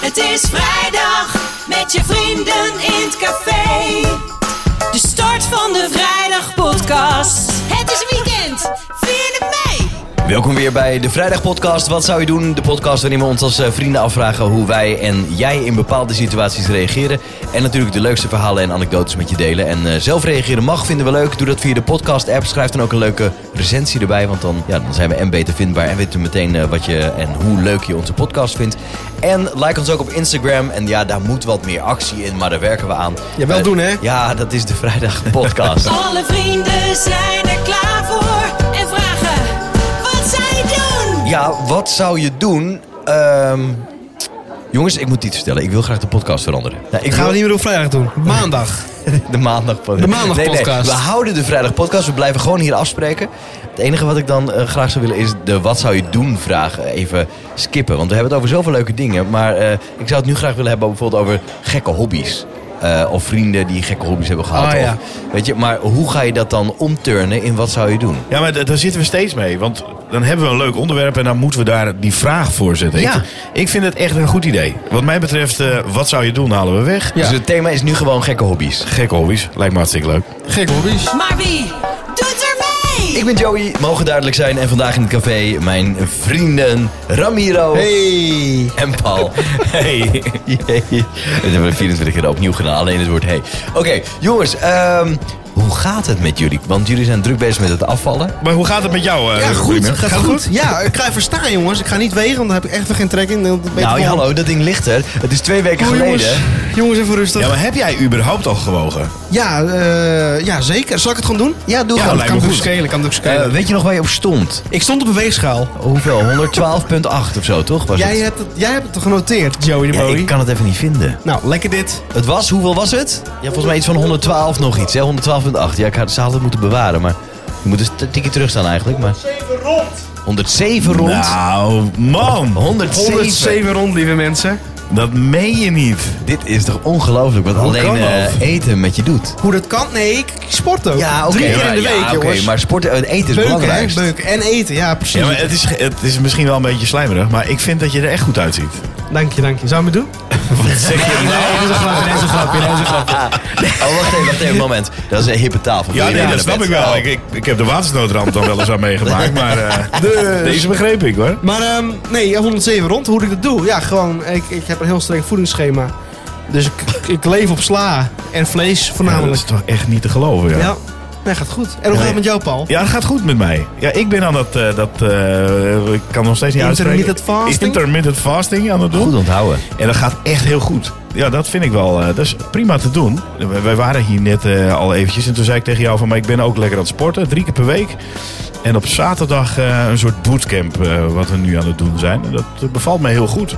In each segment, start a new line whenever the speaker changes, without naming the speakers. Het is vrijdag met je vrienden in het café. De start van de vrijdag podcast. Het is weekend. Vier mei.
Welkom weer bij de Vrijdag Podcast. Wat zou je doen? De podcast waarin we ons als eh, vrienden afvragen hoe wij en jij in bepaalde situaties reageren. En natuurlijk de leukste verhalen en anekdotes met je delen. En eh, zelf reageren mag, vinden we leuk. Doe dat via de podcast app. Schrijf dan ook een leuke recensie erbij. Want dan, ja, dan zijn we en beter vindbaar. En weten we meteen eh, wat je en hoe leuk je onze podcast vindt. En like ons ook op Instagram. En ja, daar moet wat meer actie in, maar daar werken we aan.
Ja, wel
Eh,
doen, hè?
Ja, dat is de Vrijdag Podcast.
Alle vrienden zijn er klaar voor. En vragen, wat zou je doen?
Ja, wat zou je doen? Ehm, jongens, ik moet iets vertellen. Ik wil graag de podcast veranderen. Nou, ik
Gaan
wil
we niet meer op vrijdag doen. Maandag.
de maandag
De maandag podcast.
we houden de vrijdag podcast. We blijven gewoon hier afspreken. Het enige wat ik dan eh, graag zou willen is de wat zou je doen vraag eh, even skippen. Want we hebben het over zoveel leuke dingen. Maar eh, ik zou het nu graag willen hebben bijvoorbeeld over gekke hobby's. Eh, of vrienden die gekke hobby's hebben gehad.
Ah, ja.
of- weet je, maar hoe ga je dat dan omturnen in wat zou je doen?
Ja, maar d- daar zitten we steeds mee. Want dan hebben we een leuk onderwerp en dan moeten we daar die vraag voor zetten.
Ja.
Ik, ik vind het echt een goed idee. Wat mij betreft, eh, wat zou je doen, halen we weg.
Ja.
Dus het thema is nu gewoon gekke hobby's.
Gekke hobby's, lijkt me hartstikke leuk.
Gek hobby's.
Maar wie doet er mee?
Ik ben Joey, mogen duidelijk zijn. En vandaag in het café mijn vrienden Ramiro
Hey.
en Paul. Hey. Jee. Dat hebben we 24 keer opnieuw gedaan, alleen het woord hey. Oké, jongens, ehm, hoe gaat het met jullie? Want jullie zijn druk bezig met het afvallen.
Maar hoe gaat het met jou? eh,
Ja, goed.
Ruben?
Gaat, goed. Ja, ik ga even staan, jongens. Ik ga niet wegen, want daar heb ik echt weer geen trek in. Dan ben ik
Nou, ja,
gewoon-
hallo, dat ding ligt er. Het is twee weken
Oh,
geleden.
jongens. jongens, even rustig.
Ja,
Ja,
maar heb jij überhaupt al gewogen?
eh, ja, zeker. Zal ik het gewoon doen? Ja, doe
gewoon.
Dat kan
Lijkt me
natuurlijk
goed.
schelen. Kan natuurlijk
Eh,
schelen.
weet je nog waar je op stond?
ik stond op een weegschaal.
Hoeveel? 112,8 of zo, toch? Was
Jij
het?
hebt, het, jij hebt het genoteerd, Joey de
Ja,
Bowie.
ik kan het even niet vinden.
Nou, lekker dit.
Het was, hoeveel was het? Ja, volgens mij iets van 112 nog iets, hè? 112,8. Ja, ik had, ze hadden het moeten bewaren, maar je moet een tikje terugstaan eigenlijk. Maar... 107 rond. 107
Nou, man.
rond. 107.
rond, lieve mensen.
Dat meen je niet.
Dit is toch ongelooflijk wat alleen
kan dat?
eh, eten met je doet.
Hoe dat kan? Nee, ik ik sport ook.
Ja, oké.
Drie keer
maar-
in
ja,
de week,
oké,
jongens.
maar sporten, eh, eten is
beuken, hè?
belangrijk.
Beuken. En eten, ja, precies.
Ja, maar het, is, ge- het is misschien wel een beetje slijmerig, maar ik vind dat je er echt goed uitziet.
Dank je, dank je. Zou je me doen?
Zeg je nou?
dat is een grapje, dat is een grapje, dat is een grapje.
Oh, wacht even, wacht even, moment. Dat is een hippe tafel.
Ja, nee,
Ja,
dat snap ik
Nou,
wel. Ik, ik, ik heb de watersnoodramp dan wel eens aan meegemaakt, maar eh, deze begreep ik hoor.
Maar ehm, nee, 107 rond, hoe ik dat doe? Ja, gewoon, ik, ik heb een heel streng voedingsschema. Dus ik, ik leef op sla en vlees
Ja, Nou, dat
voornamelijk.
is toch echt niet te geloven,
Ja, nee, gaat goed. En hoe gaat het met jou, Paul?
Ja, het gaat goed met mij. Ja, ik ben aan dat, eh, dat eh, ik kan nog steeds niet uitspreken.
Intermittent fasting?
Intermittent fasting aan het doen.
Goed onthouden.
En dat gaat echt heel goed. Ja, dat vind ik wel. eh, dat is prima te doen. We- Wij waren hier net eh, al eventjes en toen zei ik tegen jou van, maar ik ben ook lekker aan het sporten, drie keer per week. En op zaterdag eh, een soort bootcamp eh, wat we nu aan het doen zijn. En dat eh, bevalt mij heel goed.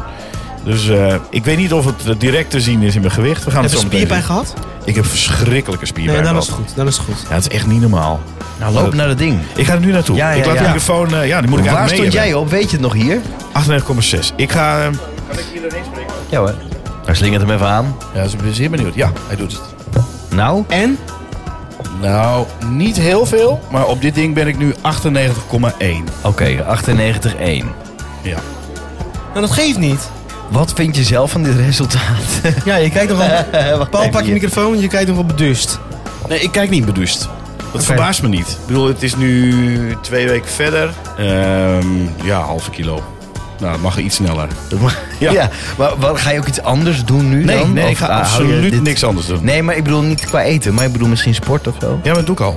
Dus eh, ik weet niet of het eh, direct te zien is in mijn gewicht. We gaan
Heb
het
je
zo meteen
spierpijn
zien.
gehad?
Ik heb verschrikkelijke
Nee,
spierpijn.
dan
gehad.
is het goed. Dan is het goed.
Ja, het is echt niet normaal.
Nou, loop
Dat-
naar dat ding.
Ik ga er nu naartoe.
Ja, ja,
ik laat
ja.
de microfoon. eh, ja, die moet ik
Waar
eigenlijk
stond
mee
jij op? Weet je het nog hier?
hebben. 98,6. Ik ga. eh,
Ja hoor. Daar slingert hem even aan.
Ja, dus ik ben zeer benieuwd. Ja, hij doet het.
Nou?
En?
Nou, niet heel veel, maar op dit ding ben ik nu 98,1.
Oké, 98,1.
Ja.
Nou, dat geeft niet.
Wat vind je zelf van dit resultaat?
Ja, je kijkt nog wel... Paul, pak je microfoon, je kijkt nog wel bedust.
Nee, ik kijk niet beduust.
Dat verbaast me niet. Ik bedoel, het is nu twee weken verder. Ehm, ja, halve kilo. Nou, dat mag iets sneller.
Ja. maar wat, ga je ook iets anders doen nu
Nee,
dan?
nee, ik ga
ah, hou je
absoluut
dit-
niks anders doen.
Nee, maar ik bedoel niet qua eten, maar ik bedoel misschien sport of zo.
Ja, maar dat doe ik al.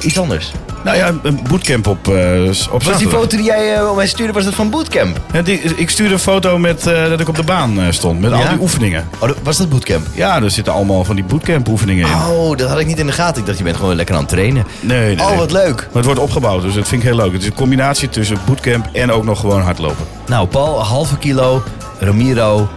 Iets anders.
Nou ja, een bootcamp op, eh s- op
Was die
zaterdag.
foto die jij eh, op mij stuurde, was dat van bootcamp?
Ja, die- ik stuurde een foto met, eh, dat ik op de baan eh, stond. Met
Ja?
al die oefeningen.
Oh, dat- was dat bootcamp?
Ja, er zitten allemaal van die bootcamp oefeningen in.
Oh, dat had ik niet in de gaten. Ik dacht, je bent gewoon lekker aan het trainen.
Nee, nee,
Oh,
nee.
wat leuk.
Maar het wordt opgebouwd, dus dat vind ik heel leuk. Het is een combinatie tussen bootcamp en ook nog gewoon hardlopen.
Nou, Paul, een halve kilo. Ramiro,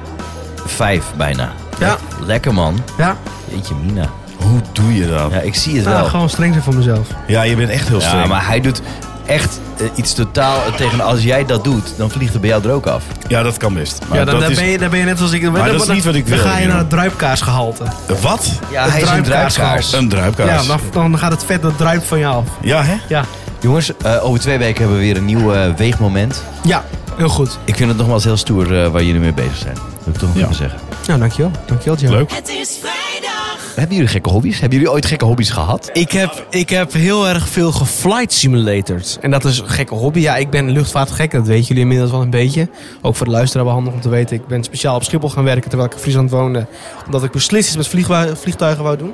vijf bijna.
Ja.
Lekker man.
Ja,
Jeetje mina.
Hoe doe je dat?
Ja, ik zie het
nou,
wel.
gewoon streng zijn voor mezelf.
Ja, je bent echt heel streng.
Ja, maar hij doet echt eh, iets totaal tegen. Als jij dat doet, dan vliegt het bij jou er ook af.
Ja, dat kan best. Maar
ja, dan,
dat
dan,
is...
ben je, dan ben je net als ik.
Maar dat is niet wat ik wil,
Dan ga je
joh.
naar het druipkaasgehalte.
Wat?
Ja,
Het
hij is een druipkaars.
druipkaars.
Een druipkaas.
Ja, dan, dan gaat het vet dat druip van je af.
Ja, hè?
Ja.
Jongens, eh, over twee weken hebben we weer een nieuw eh, weegmoment.
Ja. Heel goed.
Ik vind het nogmaals heel stoer eh, waar jullie mee bezig zijn. Dat wil ik toch nog
Ja.
even zeggen.
Nou, dankjewel. Dankjewel, Joe.
Leuk.
Het is vrijdag.
Hebben jullie gekke hobby's? Hebben jullie ooit gekke hobby's gehad?
Ik heb, ik heb heel erg veel geflight simulators. En dat is een gekke hobby. Ja, ik ben luchtvaartgek. Dat weten jullie inmiddels wel een beetje. Ook voor de luisteraar wel handig om te weten. Ik ben speciaal op Schiphol gaan werken terwijl ik in Friesland woonde. Omdat ik beslist iets met vliegwa- vliegtuigen wou doen.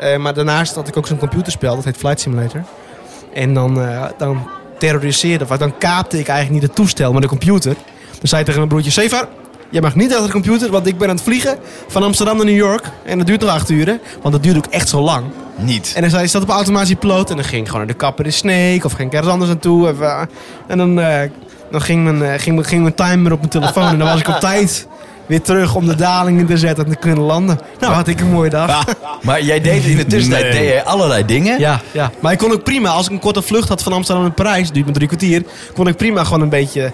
Eh, maar daarnaast had ik ook zo'n computerspel. Dat heet Flight Simulator. En dan, eh, dan terroriseerde, of dan kaapte ik eigenlijk niet het toestel, maar de computer. Dan zei ik tegen mijn broertje, Sevar, jij mag niet achter de computer, want ik ben aan het vliegen van Amsterdam naar New York. En dat duurt nog acht uren, want dat duurt ook echt zo lang.
Niet.
En dan zei hij, staat op automatische piloot. En dan ging ik gewoon naar de kapper de Snake of ging ik ergens anders naartoe. Of, eh, en dan, eh, dan ging, mijn, eh, ging, mijn- ging mijn timer op mijn telefoon. En dan was ik op tijd weer terug om de dalingen te zetten en te kunnen landen. Nou, had ik een mooie dag.
Maar jij deed in de tussentijd
Nee.
deed jij allerlei dingen.
Ja, ja, maar ik kon ook prima, als ik een korte vlucht had van Amsterdam naar Parijs, duurt me drie kwartier, kon ik prima gewoon een beetje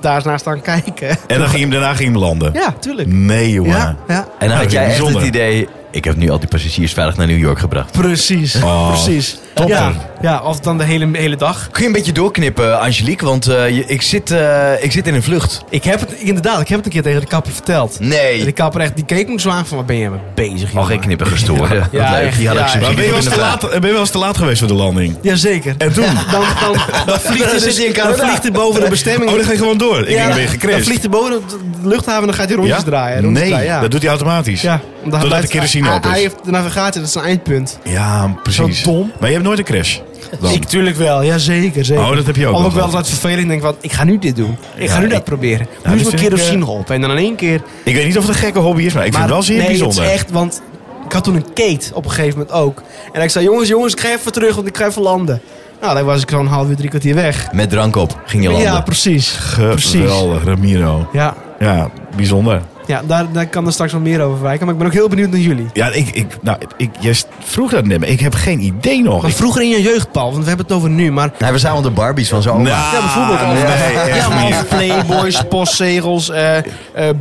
daarnaar staan kijken.
En dan ging hem, daarna ging hem landen.
Ja, tuurlijk.
Nee, jongen.
Ja, ja.
En dan
Nou,
had jij echt het
bijzonder.
idee... Ik heb nu al die passagiers veilig naar New York gebracht.
Precies,
Oh,
precies.
topper.
Ja, ja, of dan de hele, hele dag.
Kun je een beetje doorknippen, Angelique? Want eh, je- ik, zit, eh, ik zit in een vlucht.
Ik heb het, inderdaad, ik heb het een keer tegen de kapper verteld.
Mm.
En de
Nee.
kapper echt, die keek me zo aan van, waar ben je mee bezig?
Mag ik
jongen?
knippen gestoord? Wat
Ja,
leuk.
echt,
Die had
ja,
ik zo
echt.
Maar ben je, wel eens te laat, ben je wel eens te laat geweest voor de landing?
Jazeker.
En toen?
Dan, dan, dan vliegt hij
zit
dus,
je in
dan
Canada.
vliegt hij boven de bestemming.
Oh, dan ging je gewoon door. Ik
Ja,
ging weer
Dan
gecrashed.
vliegt hij boven de de luchthaven en dan gaat hij rondjes draaien. rondjes
Nee,
draaien, ja.
dat doet hij automatisch.
Ja,
Totdat
blijft-
de kerosine op
hij- Hij
is.
heeft de navigatie, dat is een eindpunt.
Ja, precies.
Zo dom.
Maar je hebt nooit een crash. Dan.
Ik tuurlijk wel, ja zeker. zeker.
Oh, dat heb je ook
Omdat
nog
ik wel
gehad.
wat vervelend denk, want ik ga nu dit doen. Ik ga
Ja,
nu dat
ik-
proberen.
dat
nu is mijn
vind ik, eh,
kerosine op en dan in één keer.
Ik weet niet of het een gekke hobby is, maar ik vind het wel zeer
nee,
bijzonder.
het is echt, want ik had toen een Kate op een gegeven moment ook. En ik zei, jongens, jongens, ik ga even terug, want ik ga even landen. Nou, dan was ik zo'n half uur, drie kwartier weg.
Met drank op ging je landen.
Ja, precies. Precies.
Geweldig, Ramiro.
Ja,
Ja, bijzonder.
ja daar, daar kan er straks wel meer over wijken. Maar ik ben ook heel benieuwd naar jullie.
Ja, ik, ik, nou, ik, jij vroeg dat net, maar ik heb geen idee nog.
Maar
Ik-
vroeger in je jeugd, Paul, want we hebben het over nu, maar...
Hij verzamelde de Barbies van zijn oma.
Nou,
Ja, bijvoorbeeld.
Nee,
ja,
echt
maar
niet.
of playboys, postzegels, eh, eh,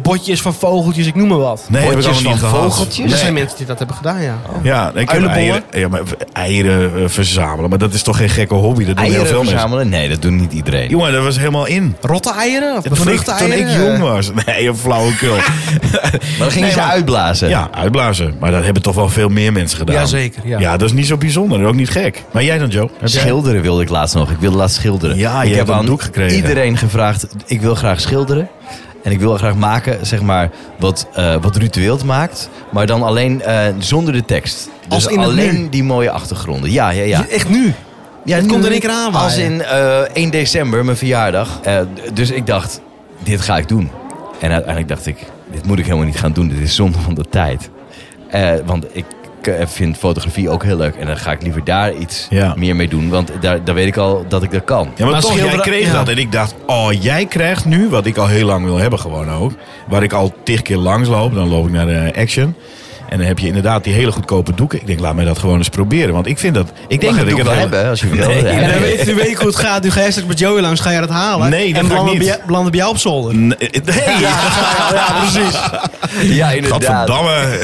botjes van vogeltjes, ik noem maar wat.
Nee, heb ik
Potjes
allemaal niet
van
gehad.
vogeltjes?
Er
Nee. Oh.
zijn mensen die dat hebben gedaan, ja.
Ja, ik heb
Uilenbollen?
eieren, ja, maar eieren eh, verzamelen. Maar dat is toch geen gekke hobby? Dat doen heel
Eieren
veel mensen.
verzamelen? Nee, dat doen niet iedereen.
Jongen, dat was helemaal in.
Rotte eieren of
Ja, Toen ik,
bevruchte
toen ik
eieren?
jong was. Nee, een flauwekul.
maar dan gingen
Nee,
ze
maar-
uitblazen.
Ja, uitblazen. Maar dat hebben toch wel veel meer mensen gedaan.
Jazeker, ja.
Ja, dat is niet zo bijzonder. en Ook niet gek. Maar jij dan, Joe? Heb jij-
Schilderen wilde ik laatst nog. Ik wilde laatst schilderen.
Ja, je
ik
hebt een doek gekregen.
iedereen gevraagd, ik wil graag schilderen. En ik wil graag maken, zeg maar, wat, eh wat Ruud de Wild maakt. Maar dan alleen eh, zonder de tekst. Dus
Als in het
alleen
nu?
die mooie achtergronden. Ja, ja, ja.
Echt nu?
ja
het
nu-
komt er één keer aan,
Als
waaien.
in eh, 1 december, mijn verjaardag. Eh, d- dus ik dacht, dit ga ik doen. En uiteindelijk dacht ik, dit moet ik helemaal niet gaan doen. Dit is zonde van de tijd. Eh, want ik eh, vind fotografie ook heel leuk. En dan ga ik liever daar iets
Ja.
meer mee doen. Want daar, daar weet ik al dat ik dat kan.
Ja, maar,
Maar
toch, jij
schilderen-
kreeg
ja.
dat. En ik dacht, oh, jij krijgt nu wat ik al heel lang wil hebben gewoon ook. Waar ik al tig keer langs loop. Dan loop ik naar de Action. En dan heb je inderdaad die hele goedkope doeken. Ik denk, laat mij dat gewoon eens proberen. Want ik vind dat... Ik denk
Mag
dat
het
ik
ook
het
wel
heel-
hebben, als je wil.
Nee.
Ja.
En dan weet, nu weet ik hoe het gaat. Nu ga je straks met Joey langs, ga je dat halen.
Nee,
en
dat ga ik
belanden
niet.
bij, jou- belanden bij jou op zolder.
Nee, eh, nee.
ja, precies.
Ja, inderdaad.
Gadverdamme.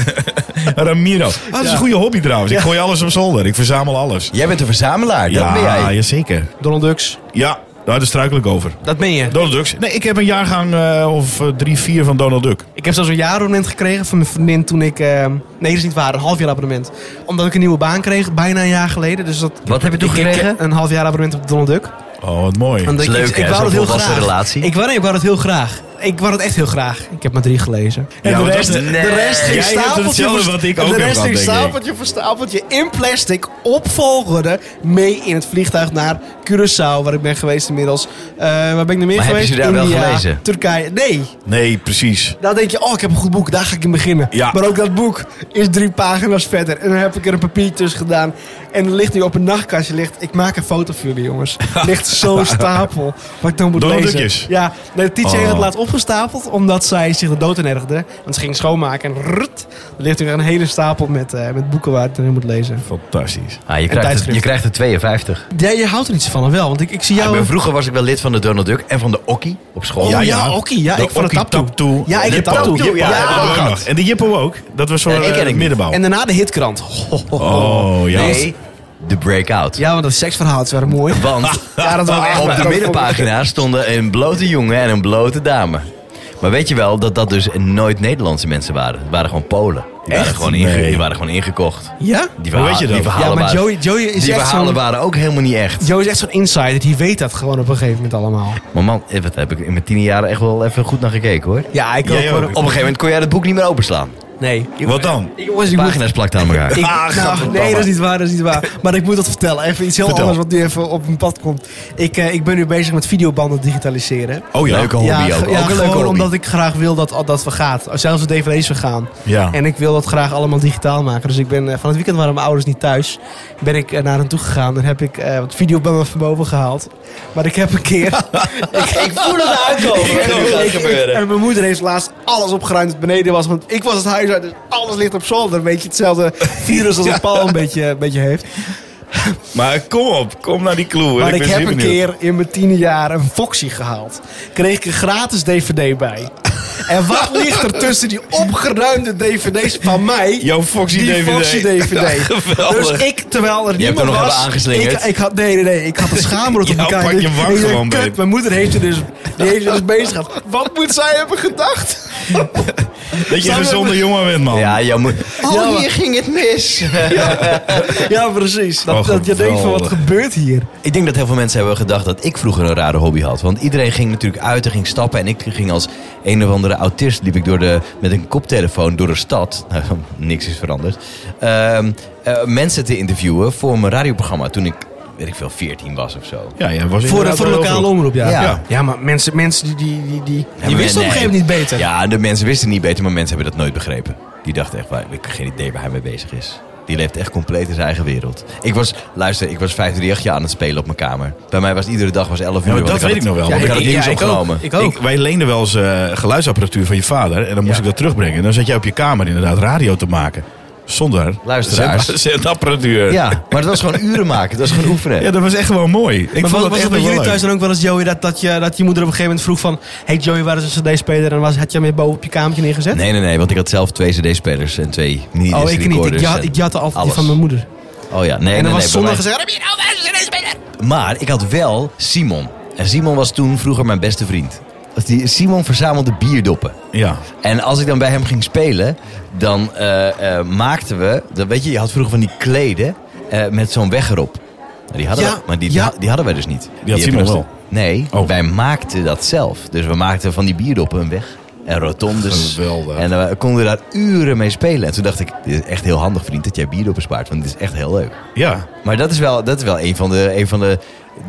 Ramiro. Ah, dat is een goede hobby trouwens. Ik gooi alles op zolder. Ik verzamel alles.
Jij bent een verzamelaar, dat ben jij. Ah,
zeker.
Donald Ducks,
Ja, nou, daar struikel ik over.
dat ben je.
Donald Ducks. Nee, ik heb een jaargang eh, of eh, drie, vier van Donald Duck.
Ik heb zelfs een jaarabonnement gekregen van mijn vriendin toen ik... ehm, nee, dat is niet waar, een half jaar abonnement. Omdat ik een nieuwe baan kreeg, bijna een jaar geleden. Dus dat,
Wat heb je toen
Ik- ik-
gekregen?
Een half jaar abonnement op Donald Duck.
Oh, wat mooi.
Want
is
ik-
leuk,
ik,
hè,
ik wou
zo'n
dat heel
volwassen
graag.
relatie.
Ik wou, nee, ik wou dat heel graag. Ik wou dat echt heel graag. Ik heb maar drie gelezen. En
Ja,
de
want
rest,
dat-
de rest
Nee.
ging
Jij hebt
stapeltje,
hetzelfde
voor-
wat ik
de
ook heb
rest
gehad,
ging
denk ik.
stapeltje voor stapeltje in plastic op volgorde mee in het vliegtuig naar Curaçao, waar ik ben geweest inmiddels. Eh, waar ben ik nog meer
Maar heb je
geweest?
ze daar wel
India,
gelezen?
Turkije. Nee.
Nee, precies.
Dan denk je, oh, ik heb een goed boek, daar ga ik in beginnen.
Ja.
Maar ook dat boek is drie pagina's verder. En dan heb ik er een papier tussen gedaan. En er ligt nu op een nachtkastje. Ligt, ik maak een foto voor jullie, jongens. Er ligt zo'n stapel. Wat ik dan moet
Door
lezen.
dukjes.
Ja, de teacher heeft
Oh.
het laatst opgestapeld. Omdat zij zich er dood aan ergerde. Want ze ging schoonmaken. En rut, er ligt weer een hele stapel met, eh, met boeken waar ik erin moet lezen.
Fantastisch.
Ah, je, krijgt er,
tijdschrift.
je krijgt er 52.
Ja, je houdt er iets van, wel. Want ik, ik zie
Ja, ik
jou...
ben- vroeger was ik wel lid van de Donald Duck en van de Okkie op school.
Oh, ja,
ja.
Okkie, ja,
De
ik van het
Okkie
taptoe.
taptoe.
Ja, ik
De
heb
taptoe,
taptoe.
ja,
Ja,
ja,
dat heb
Dat heb
ik
ik
ook.
nog. En de Jippo ook. Dat was zo'n
Ja, ik ken
eh,
hem niet.
middenbouw.
En daarna de hitkrant.
Oh, ja.
Nee, de breakout.
Ja, want dat seksverhaal is wel mooi.
Want
Ja, dat was echt
op
waar.
de middenpagina stonden een blote jongen en een blote dame. Maar weet je wel dat dat dus nooit Nederlandse mensen waren? Het waren gewoon Polen. Die waren,
Echt?
gewoon, inge-
Nee.
die waren gewoon ingekocht.
Ja?
Die
Hoe weet je dat?
Die verhalen,
Ja, maar
waren,
Joey, Joey is
die
echt
verhalen
zo'n...
waren ook helemaal niet echt.
Joey is echt zo'n insider, die weet dat gewoon op een gegeven moment allemaal.
Maar man, eh, wat heb ik in mijn tien jaar echt wel even goed naar gekeken hoor. Op
Ja, ik
Jij
ook.
ook.
een gegeven moment kon jij dat boek niet meer openslaan.
Nee.
Wat dan?
Ik, jongens,
De
ik moet-
pagina's plakten aan elkaar.
Ik,
Ah,
nou,
gadverdamme.
nee, dat is niet waar, dat is niet waar. Maar ik moet dat vertellen. Even iets heel
Vertel.
anders wat nu even op mijn pad komt. Ik, eh, ik ben nu bezig met videobanden digitaliseren.
Oh ja.
Leuke hobby
ja,
ook.
ge- ja,
ook een leuke
gewoon
hobby.
omdat ik graag wil dat dat vergaat. Zelfs de DVD's vergaan.
Ja.
En ik wil dat graag allemaal digitaal maken. Dus ik ben eh, van het weekend waren mijn ouders niet thuis. Ben ik eh, naar hen toe gegaan en heb ik eh, wat videobanden van boven gehaald. Maar ik heb een keer. ik, ik voel het aankomen.
gaat gebeuren.
En mijn moeder heeft laatst alles opgeruimd dat beneden was. Want ik was het huis uit, dus alles ligt op zolder. Een beetje hetzelfde virus als een Paul een beetje, een beetje heeft.
Maar kom op, kom naar die clue.
Maar ik,
ben
heb
zeer
een
benieuwd.
keer in mijn tiende jaar een Foxy gehaald. Kreeg ik een gratis DVD bij. En wat ligt er tussen die opgeruimde DVD's van mij?
Jouw Foxy
die
DVD.
Foxy DVD.
geweldig.
dus ik, terwijl er
hebt
niemand
er nog
was...
even aangeslingerd.
Ik, ik had, nee, nee, nee. Ik had een schaamrot op
Jou
elkaar.
pak je
Ik-
wang
ik dacht,
gewoon
kut,
beet.
Mijn moeder heeft er dus, die heeft er dus bezig gehad. Wat moet zij hebben gedacht?
Dat je
Zou
een
je-
gezonde jongen bent, man.
Ja, jij moet- Oh,
Ja, maar-
hier ging het mis.
Ja, precies. Dat,
Oh,
dat je denkt van, wat
geweldig.
gebeurt hier?
Ik denk dat heel veel mensen hebben gedacht dat ik vroeger een rare hobby had. Want iedereen ging natuurlijk uit en ging stappen. En ik ging als een of andere autist, liep ik door de, met een koptelefoon door de stad. Nou, Niks is veranderd. Ehm, eh, mensen te interviewen voor mijn radioprogramma toen ik, weet ik veel, 14 was of zo.
Ja, ja, was
Voor,
inderdaad
voor
wel
lokale
heel
omroep, ja.
Ja.
Ja, maar mensen, mensen die, die, die, die,
Ja,
die
maar
wisten op een
nee.
gegeven moment niet beter.
Ja, de mensen wisten niet beter, maar mensen hebben dat nooit begrepen. Die dachten echt, waar, ik heb geen idee waar hij mee bezig is. Die leeft echt compleet in zijn eigen wereld. Ik was, luister, ik was 538 jaar aan het spelen op mijn kamer. Bij mij was iedere dag was 11 uur.
maar
want
dat
ik had
weet ik nog wel,
Ja,
want
ik had
ik-
het nieuws
ja, ik ook.
opgenomen.
Ik ook.
Ik- wij leenden wel eens eh, geluidsapparatuur van je vader. En dan moest
Ja.
ik dat terugbrengen. En dan zat jij op je kamer inderdaad radio te maken. Zonder
Luisteraars.
zend- zendapparatuur.
Ja, maar het was gewoon uren maken. Het was gewoon oefenen.
ja, dat was echt wel mooi. Ik
maar
vond
was,
dat
was
echt
het bij
wel
jullie
leuk.
thuis dan ook wel eens, Joey, dat, dat, je, dat je moeder op een gegeven moment vroeg van... Hey Joey, waar is een cd-speler? En was, had je hem weer boven op je kamertje neergezet?
Nee, nee, nee, want ik had zelf twee cd-spelers en twee mini
oh, ik niet. Ik, ja, ik jatte altijd die
eh, alles.
van mijn moeder.
Oh ja, nee, nee,
en
nee,
dan was
bij
zondag
mij-
gezegd, heb je nou waar is een cd-speler?
Maar ik had wel Simon. En Simon was toen vroeger mijn beste vriend. Dus die- Simon verzamelde bierdoppen.
Ja.
En als ik dan bij hem ging spelen, dan eh, eh, maakten we... Dat, weet je, je had vroeger van die kleden eh, met zo'n weg erop. Maar die hadden,
Ja,
we- maar die,
ja.
die, die hadden wij dus niet.
had
hebben
Simon
dus-
wel.
Nee,
Oh.
wij maakten dat zelf. Dus we maakten van die bierdoppen een weg. En rotondes.
Geweldig.
En eh, we konden daar uren mee spelen. En toen dacht ik, dit is echt heel handig vriend dat jij bierdoppen spaart. Want dit is echt heel leuk.
Ja.
Maar dat is wel, dat is wel een, van de, een van de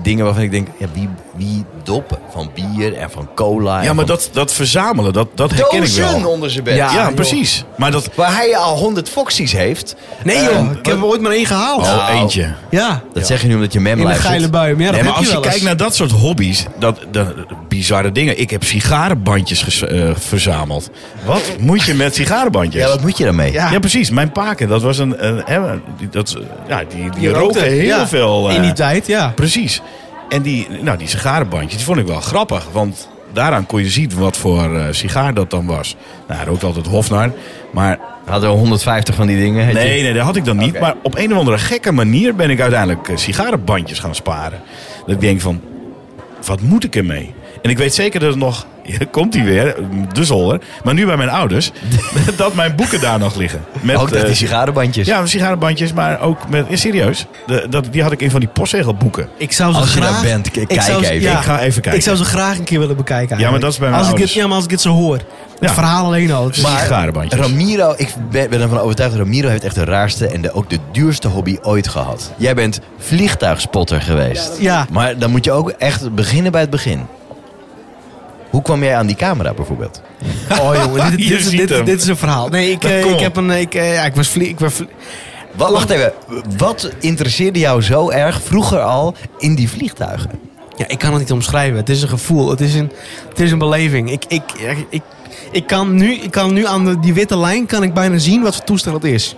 dingen waarvan ik denk... Ja, wie, wie doppen van bier en van cola? en
ja, maar
van
dat, dat verzamelen, dat, dat herken ik
dozen
wel.
onder zijn bed.
Ja, precies. Maar dat...
Waar hij al 100 foxies heeft.
Nee
Eh,
joh, ik heb er ooit maar één gehaald.
Oh,
Nou.
eentje.
Ja,
Dat zeg je nu omdat je mem
in een
luistert.
geile bui. Maar ja, dat
Nee, maar
heb
als
je
je,
wel
kijkt
eens.
naar dat soort hobby's, dat, dat- bizarre dingen. Ik heb sigarenbandjes ges- eh, verzameld. Wat moet je met sigarenbandjes?
Ja, wat moet je daarmee?
Ja. precies. Mijn paken, dat was een... een, hè, die, dat, ja, die, die,
Je
rookte heel
ja.
veel. eh,
In die tijd, ja.
Precies. En die, nou, die sigarenbandjes, die vond ik wel grappig. Want daaraan kon je zien wat voor eh sigaar dat dan was. Nou, hij rookt altijd Hofnar. Maar
Hadden we 150 van die dingen? heet
nee,
je?
nee, dat had ik dan niet.
Oké.
Maar op een of andere gekke manier ben ik uiteindelijk eh, sigarenbandjes gaan sparen. Dat ik denk van, wat moet ik ermee? En ik weet zeker dat het nog... Ja, komt hij weer, de zolder. Maar nu bij mijn ouders. dat mijn boeken daar nog liggen. Met,
Ook dat
eh,
die sigarenbandjes.
ja, sigarenbandjes, maar ook met... Ja, serieus. De, dat, die had ik in van die postzegelboeken.
Ik zou ze
Als je
graag...
daar bent, k-
ik
kijk
zou ze-
even.
ja,
Ik ga even kijken.
Ik zou ze graag een keer willen bekijken
Ja, maar
eigenlijk.
dat is bij mijn
als ik dit,
ouders.
Ja, maar als ik dit zo hoor. Het
Ja.
verhaal alleen al. dus- het is-
Maar- sigarenbandjes.
Ramiro, ik ben, ben ervan overtuigd dat Ramiro heeft echt de raarste en de, ook de duurste hobby ooit gehad. Jij bent vliegtuigspotter geweest.
ja.
Maar dan moet je ook echt beginnen bij het begin. Hoe kwam jij aan die camera bijvoorbeeld?
Oh jongen, dit, dit,
Je
is-
ziet
dit,
hem.
dit is een verhaal. Nee, ik, eh,
Kom
ik
op.
heb een... Ik, eh, ja, ik was vlie, ik was vlie-
Wa- wacht even, wat interesseerde jou zo erg vroeger al in die vliegtuigen?
Ja, ik kan het niet omschrijven. Het is een gevoel. Het is een, het is een beleving. Ik, ik, ik, ik, ik kan nu, ik kan nu aan de, die witte lijn kan ik bijna zien wat voor toestel het is.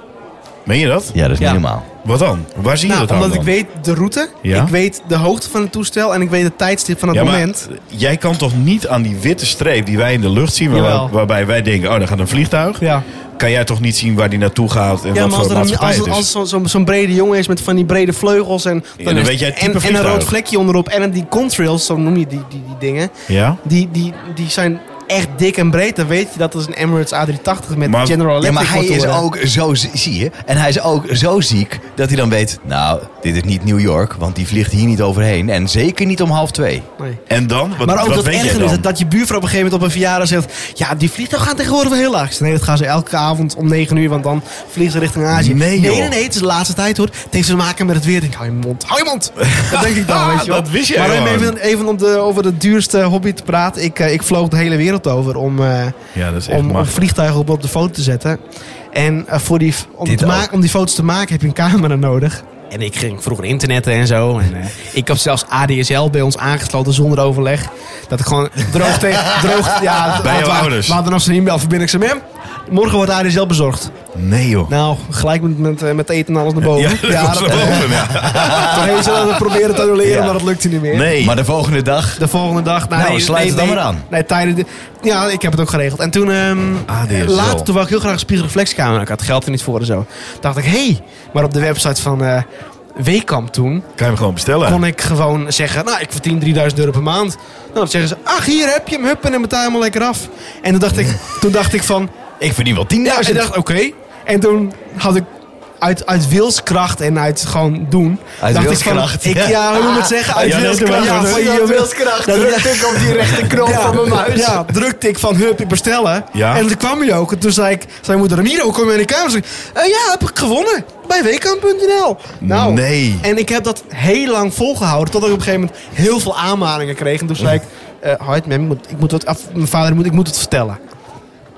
Meen je dat?
Ja, dat is
Ja.
niet normaal.
Wat dan? Waar zie je
Nou,
dat dan?
omdat ik
dan?
weet de route,
Ja.
ik weet de hoogte van het toestel en ik weet het tijdstip van het
Ja, maar
moment.
jij kan toch niet aan die witte streep die wij in de lucht zien, waar-
Jawel.
waarbij wij denken, oh, daar gaat een vliegtuig.
Ja,
Kan jij toch niet zien waar die naartoe gaat en
ja
wat
maar als,
voor
er een,
maatschappij
als,
het is?
als zo- zo- zo'n brede jongen is met van die brede vleugels en,
dan
is-
weet jij het
en,
type
en een
vliegtuig.
rood vlekje onderop en die contrails, zo noem je die, die, die dingen,
Ja?
die, die, die zijn echt dik en breed. Dan weet je dat is een Emirates A380 met
Maar-
General Electric
Ja, maar hij is
motoren.
ook zo, zie zie je, en hij is ook zo ziek dat hij dan weet, nou, dit is niet New York, want die vliegt hier niet overheen. En zeker niet om half twee.
Nee.
En dan? Wat,
Maar ook
wat
dat
weet jij
ergernis,
dan?
dat, dat je buurvrouw op een gegeven moment op een verjaardag zegt... Ja, die vliegtuig gaat tegenwoordig wel heel laag. Ik zeg, Nee, dat gaan ze elke avond om 9 uur, want dan vliegen ze richting Azië.
Nee, joh.
nee, nee, het is de laatste tijd hoor. Het heeft te maken met het weer. Ik denk, hou je mond, hou je mond. Dat denk ik dan, weet je wel.
Dat wist jij
Maar om
gewoon.
even, even om de, over de duurste hobby te praten. Ik, eh, ik vloog de hele wereld over om, eh,
Ja, dat is echt
om, om
machtig.
vliegtuigen op, op de foto te zetten. En eh, voor die, om,
Dit
te ma-
ook.
om die foto's te maken heb je een camera nodig. En ik ging vroeger internetten en zo. En, eh, ik had zelfs ADSL bij ons aangesloten zonder overleg. Dat ik gewoon droog tegen... droog, ja,
Bij jouw
we-
ouders.
We hadden nog zijn e-mailverbinding. Ik zei, "Mam, morgen wordt ADSL bezorgd.
Nee, joh.
Nou, gelijk met, met, eh, met eten en alles naar boven.
Ja, dat was wel open, ja.
toen heeft ze dat proberen te annuleren,
Ja.
maar dat lukte niet meer.
Nee.
Maar de volgende dag,
De volgende dag.
Nou, sluit het dan maar aan.
Nee, tijdens de- ja, ik heb het ook geregeld. En toen, ehm,
Ah,
ADSL.
later, toen wou ik heel graag een spiegelreflexcamera. Ik had geld er niet voor en zo. dacht ik, hé. Hey. Maar op de website van eh Wekamp toen,
kan je hem gewoon
Eh.
bestellen.
kon ik gewoon zeggen, nou, ik verdien 3000 euro per maand. Nou, dan zeggen ze, ach, hier heb je hem, huppen en betaal hem al lekker af. En toen dacht ik, toen dacht ik van,
ik verdien wel 10.000.
ja, ik dacht, oké. En toen had ik uit, uit wilskracht en uit gewoon doen.
Uit
dacht
wilskracht,
Ik van, ik, ja, hoe moet ik het zeggen? Uit
Ja, dat is
wilskracht.
kracht,
Ja,
hoor.
van je wilskracht. drukte ik op die rechterknop van mijn muis. Ja, drukte ik van hup, ik bestellen.
Ja.
En toen kwam hij ook. En toen zei ik, zei moeder Ramiro, kom je in de kamer? Zei ik, eh, ja, heb ik gewonnen. Bij weekamp.nl. Nou,
Nee.
En ik heb dat heel lang volgehouden. Totdat ik op een gegeven moment heel veel aanmaningen kreeg. En toen zei ik, eh hard, mam, ik moet, ik moet wat, af, mijn vader, moet, ik moet het vertellen.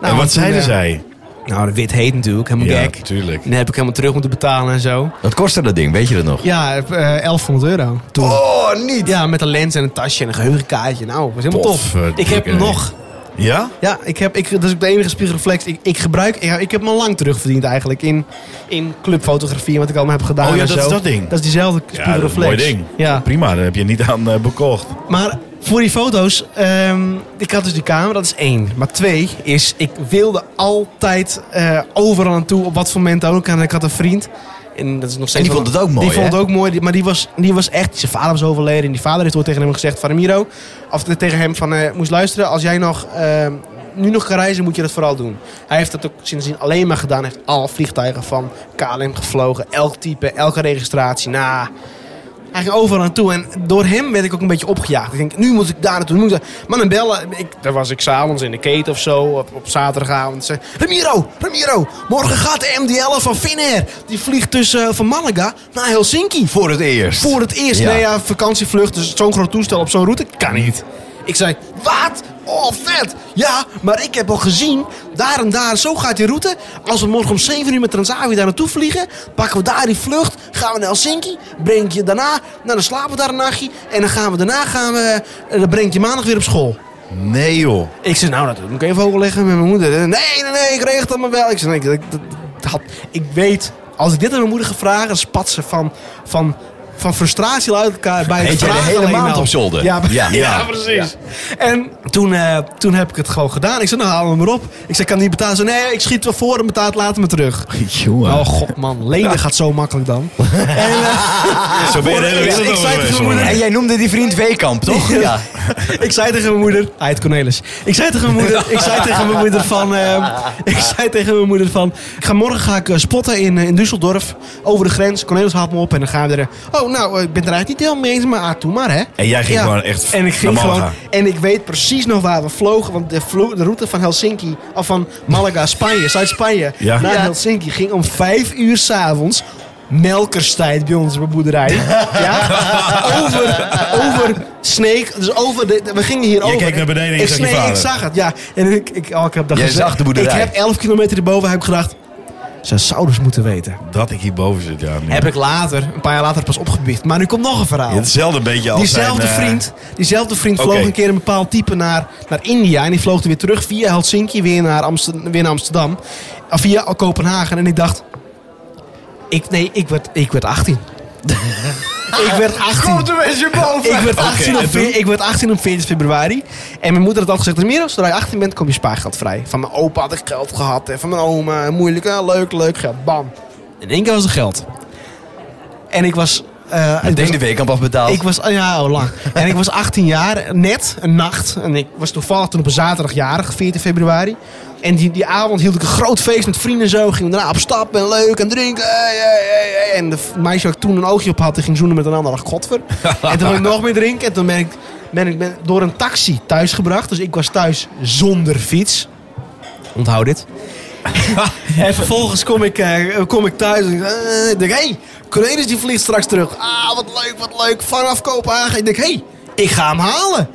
Nou,
en
en
wat
toen,
zeiden
eh,
zij?
nou, de wit heet natuurlijk, helemaal
Ja,
gek.
tuurlijk.
Dan heb ik helemaal terug moeten betalen en zo.
Wat kostte dat ding, weet je dat nog?
Ja, eh, 1100 euro. Toen.
Oh, niet!
Ja, met een lens en een tasje en een geheugenkaartje. Nou, was helemaal tof.
Potverdikke.
Ik heb hem nog.
Ja?
Ja, ik heb, ik, dat is ook de enige spiegelreflex. Ik, ik gebruik, ja, ik heb hem al lang terugverdiend eigenlijk in, in clubfotografie. Wat ik allemaal heb gedaan
Oh ja,
en
dat is
zo.
dat ding.
Dat is diezelfde
Ja, dat
spiegelreflex.
is een mooi ding.
Ja.
Prima, daar heb je niet aan eh, bekocht.
Maar voor die foto's, ehm, ik had dus die camera, dat is één. Maar twee is, ik wilde altijd eh, overal aan toe, op wat voor moment ook. En ik had een vriend. En, dat is nog steeds
die
wel-
vond het ook mooi,
Die vond
hè?
het ook mooi, die- maar die was, die was echt... Zijn vader was overleden en die vader heeft ooit tegen hem gezegd... Van Ramiro, of te- tegen hem van... eh, moest luisteren, als jij nog, ehm, nu nog kan reizen, moet je dat vooral doen. Hij heeft dat ook sindsdien alleen maar gedaan. Hij heeft al vliegtuigen van KLM gevlogen. Elk type, elke registratie. Nou, hij ging overal naartoe. En door hem werd ik ook een beetje opgejaagd. Ik denk, nu moet ik daar naartoe. nu Moet ik daar- Maar dan bellen. Ik, daar was ik s'avonds in de keten of zo. Op, op zaterdagavond. Zei, Ramiro, Ramiro. Morgen gaat de MD-11 van Finnair. Die vliegt tussen eh, van Malaga naar Helsinki.
Voor het eerst.
Voor het eerst.
Ja.
Nee, ja, vakantievlucht. Dus zo'n groot toestel op zo'n route. Kan niet. Ik zei, wat? Oh, vet. Ja, maar ik heb al gezien, daar en daar, zo gaat die route. Als we morgen om 7 uur met Transavia daar naartoe vliegen, pakken we daar die vlucht, gaan we naar Helsinki, breng ik je daarna, nou, dan slapen we daar een nachtje en dan gaan we daarna, gaan we, en dan breng ik je maandag weer op school.
Nee, joh.
Ik zei, nou, dat moet ik even overleggen met mijn moeder. Nee, nee, nee, ik regel dat maar wel. Ik zei, nee, ik, dat- dat had- ik weet, als ik dit aan mijn moeder ga vragen, dan spat ze van, van, van frustratie al uit elkaar bij
Eet
het
jij de
vragen
hele
alleen
maand
al.
op zolder?
Ja,
Ja.
ja.
Ah. Ja, precies.
En toen, eh, toen heb ik het gewoon gedaan. Ik zei, nou, haal hem maar op. Ik zei, kan niet betalen. Ze zei, nee, ik schiet wel voor en betaal het later me terug.
Jongen.
Oh, god man, lenen gaat zo makkelijk dan. en, eh,
Zo ben je de hele
Ik-
wereld
ik
over
zei tegen
bezig,
mijn
man.
En jij noemde die vriend Weekamp, toch? Ja.
ik zei tegen mijn moeder, hij heet Cornelis. Ik zei tegen mijn moeder, ik zei tegen mijn moeder van, ehm, ik zei tegen mijn moeder van, ik ga morgen ga ik eh, spotten in, eh, in Düsseldorf over de grens. Cornelis haalt me op en dan gaan we er. eh, Oh, nou, eh, ik ben het er eigenlijk niet helemaal mee eens, maar ah, doe maar hè.
En jij ging gewoon echt
En ik ging
naar Malaga.
gewoon, en ik weet precies nog waar we vlogen, want de, vlo- de route van Helsinki, of van Malaga, Spanje, Zuid-Spanje,
Ja.
naar
Ja.
Helsinki ging om vijf uur s'avonds. Melkerstijd bij ons op de boerderij. Ja? Over, over Sneek. Dus over de, de- we gingen hier over.
keek naar beneden en je
Ik-
zag je
nee,
vader.
ik zag het, ja. En ik, ik, oh, ik heb dat
Jij
gezegd.
zag de boerderij.
Ik heb 11 kilometer erboven heb ik gedacht. Ze zouden eens moeten weten.
Dat ik hierboven zit, ja. nu.
Heb ik later, een paar jaar later pas opgebiecht. Maar nu komt nog een verhaal.
Ja, Hetzelfde beetje als
Diezelfde
zijn, eh,
vriend, diezelfde vriend
Oké.
vloog een keer een bepaald type naar, naar India. En die vloog er weer terug via eh, Helsinki weer naar, Amster- weer naar Amsterdam. Of via Kopenhagen. En ik dacht, Ik, nee, ik werd, ik werd 18. ik werd 18.
er met je boven.
Ik werd, 18
en
op,
toen?
veer- ik werd 18 op 14 februari. En mijn moeder had al gezegd, Miro, zodra je 18 bent, kom je spaargeld vrij. Van mijn opa had ik geld gehad. En van mijn oma. Moeilijk, eh, leuk, leuk geld. Bam. In één keer was er geld. En ik was... eh, ik was-
Meteen de weekend afbetaald.
ik was, ja, al lang. en ik was 18 jaar, net, een nacht. En ik was toevallig toen op een zaterdag jarig, 14 februari. En die, die avond hield ik een groot feest met vrienden en zo. Gingen we daarna op stap en leuk en drinken. Hey, hey, hey, hey. En de v- meisje waar ik toen een oogje op had, die ging zoenen met een ander. dacht ik, Godver. en toen wil ik nog meer drinken. En toen ben ik, ben ik ben door een taxi thuisgebracht. Dus ik was thuis zonder fiets. Onthoud dit. En vervolgens kom ik, eh, kom ik thuis en ik eh, ik denk, hé, hey, Cornelis die vliegt straks terug. Ah, wat leuk, wat leuk. Vanaf Kopenhagen. Ik denk, hé, hey, ik ga hem halen.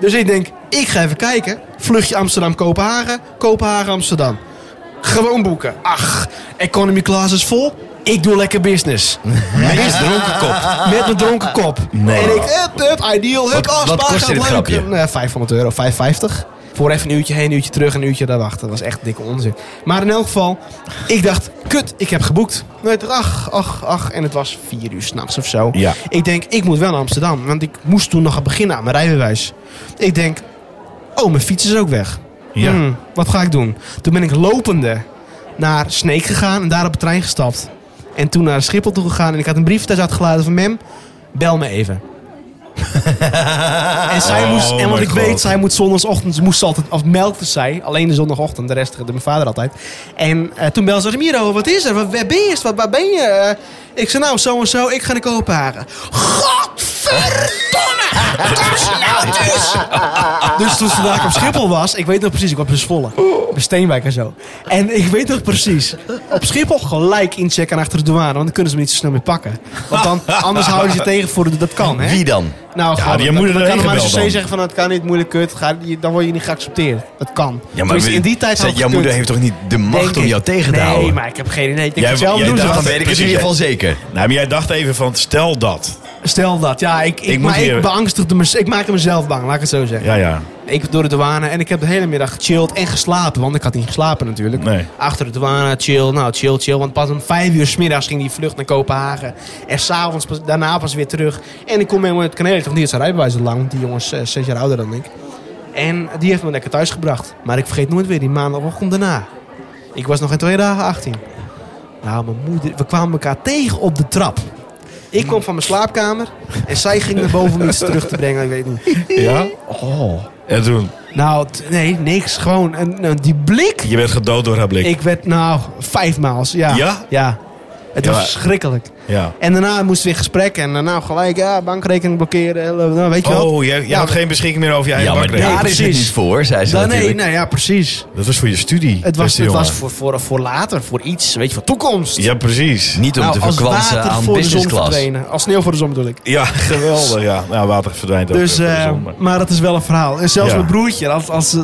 Dus ik denk, ik ga even kijken. Vluchtje Amsterdam-Kopenhagen, Kopenhagen-Amsterdam. Gewoon boeken. Ach, economy class is vol. Ik doe lekker business.
Meest dronken kop.
Met mijn dronken kop.
Nee.
En ik, hup, hup, ideal, hup,
Wat-
oh,
wat
Spa
kostte
gaat
dit
leuk.
grapje?
Eh, nou, 500 euro, 550. Voor even een uurtje heen, een uurtje terug, een uurtje daar wachten. Dat was echt dikke onzin. Maar in elk geval, ik dacht, kut, ik heb geboekt. Nee, ik dacht, Ach, ach, ach. En het was vier uur s'nachts of zo.
Ja.
Ik denk, ik moet wel naar Amsterdam. Want ik moest toen nog gaan beginnen aan mijn rijbewijs. Ik denk, oh, mijn fiets is ook weg.
Ja.
Hmm, wat ga ik doen? Toen ben ik lopende naar Sneek gegaan en daar op de trein gestapt. En toen naar Schiphol toe gegaan en ik had een brief thuis uitgeladen van Mem, bel me even. en zij
Oh
moest, en want
my
ik
God.
weet, zij moet zondagochtend, ze moest altijd, of melkte zij, alleen de zondagochtend, de rest deed mijn vader altijd. En eh, toen belde ze, Miro, wat is er? Wat, waar ben je? Wat, waar ben je? Eh, ik zei, nou, zo en zo, ik ga naar Kopenhagen. Godverdomme! Dat is nou dus! Dus toen ze daar op Schiphol was, ik weet nog precies, ik was bij Zwolle. Bij Steenwijk en zo. En ik weet nog precies, op Schiphol gelijk inchecken achter de douane, want dan kunnen ze me niet zo snel meer pakken. Want dan, anders houden ze je tegen voor de- dat kan, hè?
Wie dan?
Nou,
Ja,
gewoon,
die moeder
dan, dan kan
erheen
de
gebeld dan.
zeggen van, dat kan niet, moeilijk kut, ga, je- dan word je niet geaccepteerd. Dat kan.
Ja,
Dus in die tijd
Zeg,
had ik
jouw
gekund.
moeder heeft toch niet de macht
Denk
om
ik.
jou tegen te
nee,
houden?
maar ik heb geen idee. Ik denk,
Jij-
zelf
jij
doen ze
dacht-
Dan
wat.
weet ik het in
Precies,
ieder geval
ja.
zeker.
Nou, maar jij dacht even van, stel dat.
Stel dat, ja, ik, ik,
Ik moet
maar ik
hier-
beangstigde me, ik maakte mezelf bang, laat ik het zo zeggen.
Ja, ja.
Ik heb door de douane en ik heb de hele middag gechilled en geslapen. Want ik had niet geslapen natuurlijk.
Nee.
Achter de douane, chill, nou chill, chill. Want pas om vijf uur smiddags ging die vlucht naar Kopenhagen. En s'avonds pas- daarna pas weer terug. En ik kom helemaal uit Canarie, want die is zijn rijbewijs al lang. want Die jongens is eh, zes jaar ouder dan ik. En die heeft me lekker thuis gebracht. Maar ik vergeet nooit weer die maandagochtend daarna. Ik was nog geen twee dagen 18. Nou, mijn moeder, we kwamen elkaar tegen op de trap. Ik kwam van mijn slaapkamer en zij ging naar boven om iets terug te brengen. Ik weet niet.
Ja?
Oh.
En toen,
Nou, t- nee, niks. Gewoon en, nou, die blik.
je werd gedood door haar blik.
Ik werd nou vijf maal. Ja.
Ja?
Het
Ja,
was
maar-
verschrikkelijk.
Ja.
En daarna moesten we in gesprek. En daarna gelijk, ja, bankrekening blokkeren. eh, Nou, weet je wel.
Oh, jij, jij
Ja,
had
maar-
geen beschikking meer over je eigen
Ja, maar
bankrekening.
daar is het
precies.
niet voor, zei ze
Dan, nee,
natuurlijk.
nou ja, precies.
Dat was voor je studie.
Het was,
beste
het was
jongen.
voor, voor, voor later, voor iets. Weet je, voor toekomst.
Ja, precies.
Niet om
Nou,
te
als
verkwansen
water
aan
voor de
business
zon
class.
verdwenen. Als sneeuw voor de zon bedoel ik.
Ja, geweldig. Ja, nou, water verdwijnt ook.
Dus,
eh, voor de
eh,
zon, maar-
maar dat is wel een verhaal. En zelfs
Ja.
mijn broertje, als, als,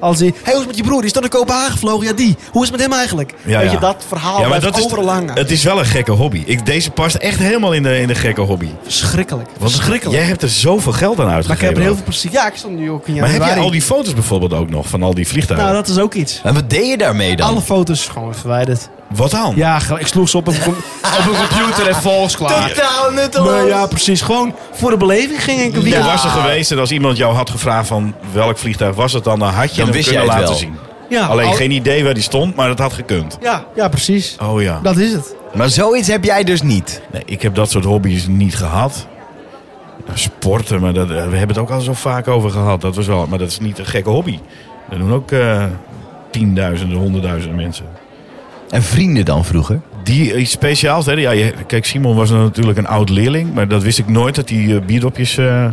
als hij... Hé, hoe is het met je broer? Die is toch naar Kopenhagen gevlogen? Ja, die. Hoe is het met hem eigenlijk?
Ja,
Weet
ja.
je, dat verhaal
ja, maar
blijft
dat is,
overal hangen.
het is wel een gekke hobby. Ik, deze past echt helemaal in de, in de gekke hobby.
Verschrikkelijk. Verschrikkelijk.
Jij hebt er zoveel geld aan
maar ik
uitgegeven.
heb er heel veel plezier. Ja, ik stond nu ook in
Maar
januari.
heb jij al die foto's bijvoorbeeld ook nog van al die vliegtuigen?
Nou, dat is ook iets.
En wat deed je daarmee dan?
Alle foto's gewoon verwijderd.
Wat dan?
Ja, ge- ik sloeg ze op een, com- op een computer en volgens klaar.
Totaal Nou
Nee, ja, precies. Gewoon voor de beleving ging ik een
Je
weekend.
was er geweest en als iemand jou had gevraagd van welk vliegtuig was het dan, dan had je
Dan
hem
wist
kunnen
jij het
laten
wel.
zien.
Ja,
Alleen
Nou, al-
geen idee waar die stond, maar dat had gekund.
Ja, ja, precies.
Oh ja.
Dat is het.
Maar zoiets heb jij dus niet.
Nee, ik heb dat soort hobby's niet gehad. Nou, sporten, maar dat, eh, we hebben het ook al zo vaak over gehad. Dat was wel, maar dat is niet een gekke hobby. Dat doen ook eh, tienduizenden, honderdduizenden mensen.
En vrienden dan vroeger?
Die iets speciaals, hè? Ja, je- kijk, Simon was natuurlijk een oud leerling, maar dat wist ik nooit dat hij eh, bierdopjes eh,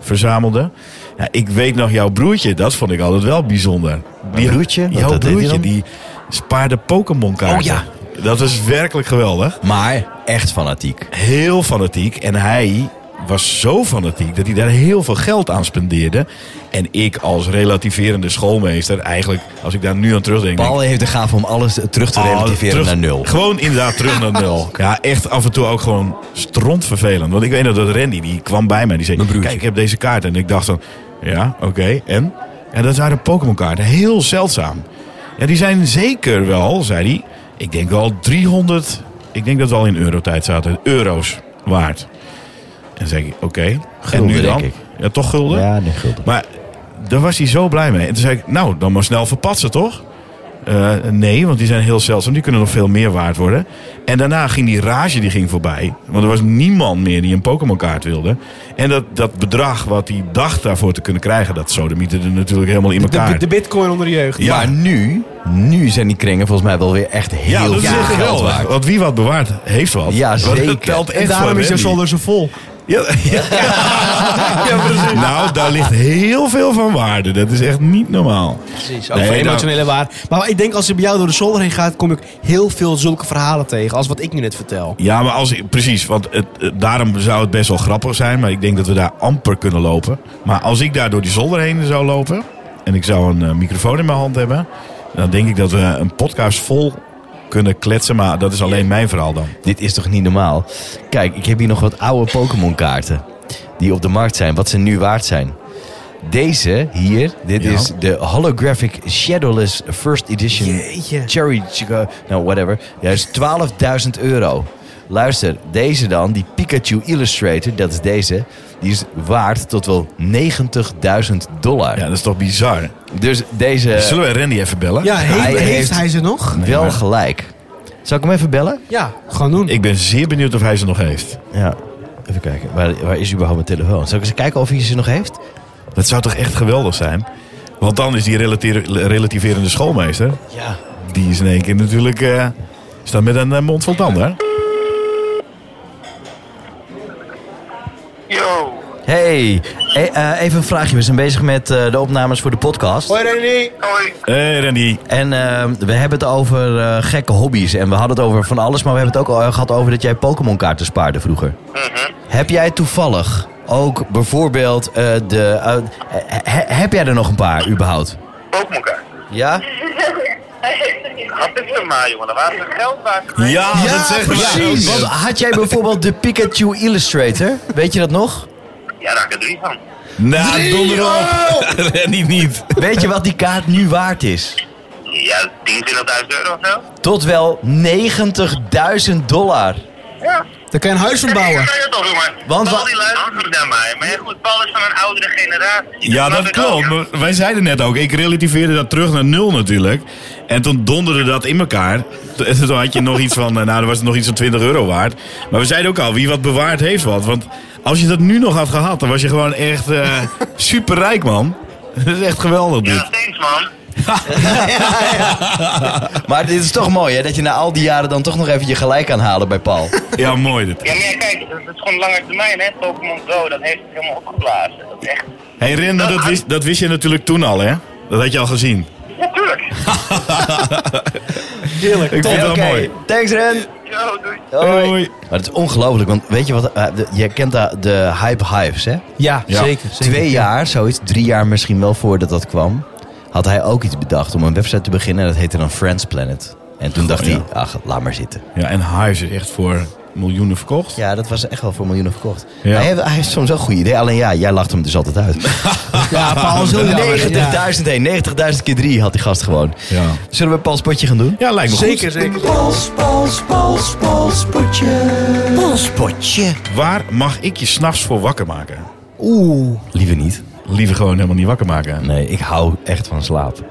verzamelde. Ja, ik weet nog jouw broertje, dat vond ik altijd wel bijzonder. Die,
broertje? Wat-
Jouw
wat deed hij
broertje,
dan?
die spaarde Pokémon-kaarten.
Oh ja.
Dat was werkelijk geweldig.
Maar echt fanatiek.
heel fanatiek. En hij was zo fanatiek dat hij daar heel veel geld aan spendeerde. En ik als relativerende schoolmeester, eigenlijk, als ik daar nu aan terugdenk... denk ik,
Paul heeft de gaaf om alles terug te
oh,
relativeren
terug-
naar nul.
Gewoon inderdaad terug naar nul. Ja, echt af en toe ook gewoon strontvervelend. Want ik weet nog dat Randy, die kwam bij mij, die zei...
Mijn broertje.
Kijk, ik heb deze kaart. En ik dacht dan, ja, oké, en? En dat waren Pokémon kaarten, heel zeldzaam. Ja, die zijn zeker wel, zei hij, ik denk wel 300 Ik denk dat we al in eurotijd zaten. Euro's waard. En dan zeg ik, oké. En
Gulden,
nu dan?
denk
Ja, toch gulden?
Ja, nee, gulden.
Maar daar was hij zo blij mee. En toen zei ik, nou, dan maar snel verpatsen, toch? Eh, nee, want die zijn heel zeldzaam. Die kunnen nog veel meer waard worden. En daarna ging die rage die ging voorbij. Want er was niemand meer die een Pokémon kaart wilde. En dat, dat bedrag wat hij dacht daarvoor te kunnen krijgen... dat sodemieten er natuurlijk helemaal in elkaar.
De, de bitcoin onder de jeugd.
Ja.
Maar nu, nu zijn die kringen volgens mij wel weer echt
ja,
heel
dat is
veel
echt
geld
geweldig.
waard.
Want wie wat bewaart, heeft wat.
Ja,
Want
zeker.
Dat telt echt
En daarom
voor
is jouw
Wendy.
zolder zo vol.
Ja, ja. Ja, precies. Nou, daar ligt heel veel van waarde. Dat is echt niet normaal.
Precies, ook voor
nou-
emotionele waarde. Maar ik denk als je bij jou door de zolder heen gaat, kom ik heel veel zulke verhalen tegen. Als wat ik nu net vertel.
Ja, maar als, precies. Want het, het- daarom zou het best wel grappig zijn. Maar ik denk dat we daar amper kunnen lopen. Maar als ik daar door die zolder heen zou lopen. En ik zou een eh, microfoon in mijn hand hebben. Dan denk ik dat we een podcast vol kunnen kletsen. Maar dat is alleen mijn verhaal dan.
Dit is toch niet normaal? Kijk, ik heb hier nog wat oude Pokémon kaarten. Die op de markt zijn, wat ze nu waard zijn. Deze hier, dit
Ja.
is de Holographic Shadowless First Edition
Jeetje.
Cherry Chica, nou whatever. Ja, is 12.000 euro. Luister, deze dan, die Pikachu Illustrator, dat is deze. Die is waard tot wel 90.000 dollar.
Ja, dat is toch bizar.
Dus deze,
Zullen we Randy even bellen?
Ja, heeft,
Hij
heeft
heeft-
hij ze nog?
wel
maar-
gelijk. Zal ik hem even bellen?
Ja, gewoon doen.
Ik ben zeer benieuwd of hij ze nog heeft.
Ja, even kijken. Waar, waar is überhaupt mijn telefoon? Zal ik eens kijken of hij ze nog heeft?
Dat zou toch echt geweldig zijn? Want dan is die relateer- relativerende schoolmeester.
Ja.
Die is in één keer natuurlijk. eh staat met een eh, mond vol tanden. hè?
Yo.
Hey, e- eh, even een vraagje. We zijn bezig met eh, de opnames voor de podcast.
Hoi.
hey, Randy.
En eh, we hebben het over eh, gekke hobby's. En we hadden het over van alles, maar we hebben het ook al eh, gehad over dat jij Pokémon kaarten spaarde vroeger. Heb jij toevallig ook bijvoorbeeld eh, de... eh, he- heb jij er nog een paar überhaupt?
Pokémon kaart.
Ja?
Had dit voor mij, jongen. Dan waren ze geld waard.
Ja,
geweest.
dat zegt
Precies. Want had jij bijvoorbeeld de Pikachu Illustrator? Weet je dat nog?
Ja, daar heb ik er drie van.
Nou, donder op. Randy niet.
Weet je wat die kaart nu waard is?
Ja, 10.000, 20.000 euro of zo.
Tot wel 90.000 dollar.
Ja.
Daar kan je een huis van
Ik
bouwen.
zei het toch, jongen.
Want
Paul
wa-
die luistert niet naar mij. Maar ja, goed, Paul is van een oudere generatie.
Ja,
snap
dat
ik ook,
klopt.
ja.
Maar Wij zeiden net ook, ik relativeerde dat terug naar nul natuurlijk. En toen donderde dat in elkaar. T- Toen had je nog iets van, eh, nou, er was het nog iets van 20 euro waard. Maar we zeiden ook al, wie wat bewaard heeft wat. Want als je dat nu nog had gehad, dan was je gewoon echt eh superrijk, man. Dat is echt geweldig,
Ja,
dit.
thanks, man.
Maar dit is toch mooi, hè? Dat je na al die jaren dan toch nog even je gelijk kan halen bij Paul.
Ja, mooi dit.
Ja, maar ja, kijk, dat is gewoon lange termijn, hè. Pokémon Go, dat heeft het helemaal opgeblazen. Dat is echt...
hey, Rin, maar
ah.
dat wist, dat wist je natuurlijk toen al, hè? Dat had je al gezien.
Natuurlijk.
Heerlijk.
Ik vond het wel
Oké,
mooi.
Thanks, Ren.
Yo, doei.
Hoi.
Hoi.
Maar het is ongelooflijk, want weet je wat... eh, de- je kent de, de hype hives, hè?
Ja,
Ja.
zeker. zeker.
Twee jaar, zoiets, drie jaar misschien wel voordat dat kwam... had hij ook iets bedacht om een website te beginnen. En dat heette dan Friends Planet. En toen dacht
ja.
hij, ach, laat maar zitten.
Ja, en Hives is echt voor miljoenen verkocht.
Ja, dat was echt wel voor miljoenen verkocht.
Ja.
Hij, heeft, hij heeft soms wel een goed idee. Alleen ja, jij lacht hem dus altijd uit.
Ja, Paul is heel jammer.
90.000
Ja.
heen, 90.000 keer 3 had die gast gewoon.
Ja.
Zullen we Paul Spotje gaan doen?
Ja, lijkt me goed.
Zeker, zeker.
Waar mag ik je s'nachts voor wakker maken?
Oeh.
Liever niet.
Liever gewoon helemaal niet wakker maken.
Nee, ik hou echt van slaap.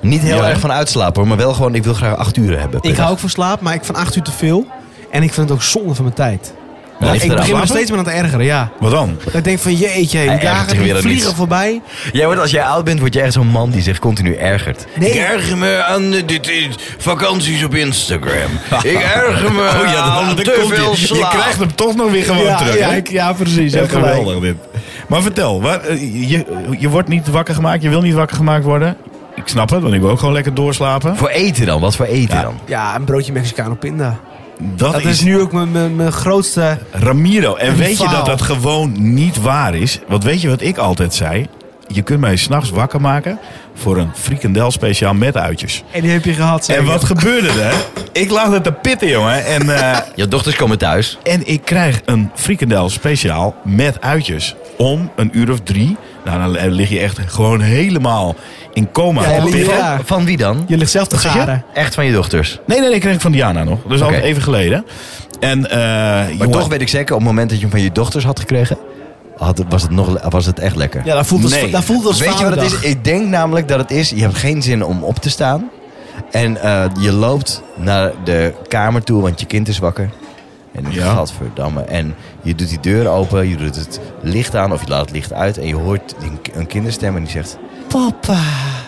Niet heel
Ja, hè?
erg van uitslapen hoor, maar wel gewoon, ik wil graag 8 uren hebben. per
Ik
dag.
hou ook van slaap, maar ik van acht uur te veel. En ik vind het ook zonde van mijn tijd.
Ja, ligt
ik
eraan.
begin me
Slapen?
steeds meer aan het ergeren, ja.
Wat dan?
Dat ik denk van jeetje, die
ergert zich
dagen
weer
die
aan
vliegen
niets.
voorbij.
Jij wordt, als jij oud bent, word jij echt zo'n man die zich continu ergert.
Nee.
Ik erger me aan eh, dit, dit- vakanties op Instagram. ik erger me
Ah,
aan
dat
te
komt
veel
ie.
slaap.
Je krijgt hem toch nog weer gewoon
ja,
terug.
ja,
hè?
ik- ja, precies.
Echt
heb gelijk.
geweldig dit. Maar vertel, waar, eh, je, je wordt niet wakker gemaakt, je wil niet wakker gemaakt worden. Ik snap het, want ik wil ook gewoon lekker doorslapen.
Voor eten dan, wat voor eten dan?
Ja, een broodje Mexicano pinda.
Dat,
Dat
is
is nu ook mijn, mijn, mijn grootste...
Ramiro. En
Een
weet je
faal.
dat dat gewoon niet waar is? Want weet je wat ik altijd zei? Je kunt mij s'nachts wakker maken voor een frikandel speciaal met uitjes.
En die heb je gehad. zeg
En
ik.
wat gebeurde er? Ik lag er te pitten, jongen. En, eh,
Je dochters komen thuis.
en ik krijg een frikandel speciaal met uitjes. Om een uur of drie Nou, dan lig je echt gewoon helemaal in coma.
Ja, je
Van
ligt-
pinnen.
ja.
Van wie dan?
Je ligt zelf te
Wat zeg je?
garen.
Echt van je dochters.
Nee, nee, nee, kreeg ik van Diana nog. Dus
Oké.
al even geleden. En, eh
Maar
jongen,
toch weet ik zeker, op het moment dat je hem van je dochters had gekregen, had, was, het nog, le- was het echt lekker.
Ja, dat voelt als,
Nee.
dat voelt als
Weet je wat het is?
vaderdag.
Ik denk namelijk dat het is, je hebt geen zin om op te staan. En eh, je loopt naar de kamer toe, want je kind is wakker. En ik
Ja.
gadverdamme. En je doet die deur open, je doet het licht aan of je laat het licht uit. En je hoort een- een kinderstem en die zegt, papa.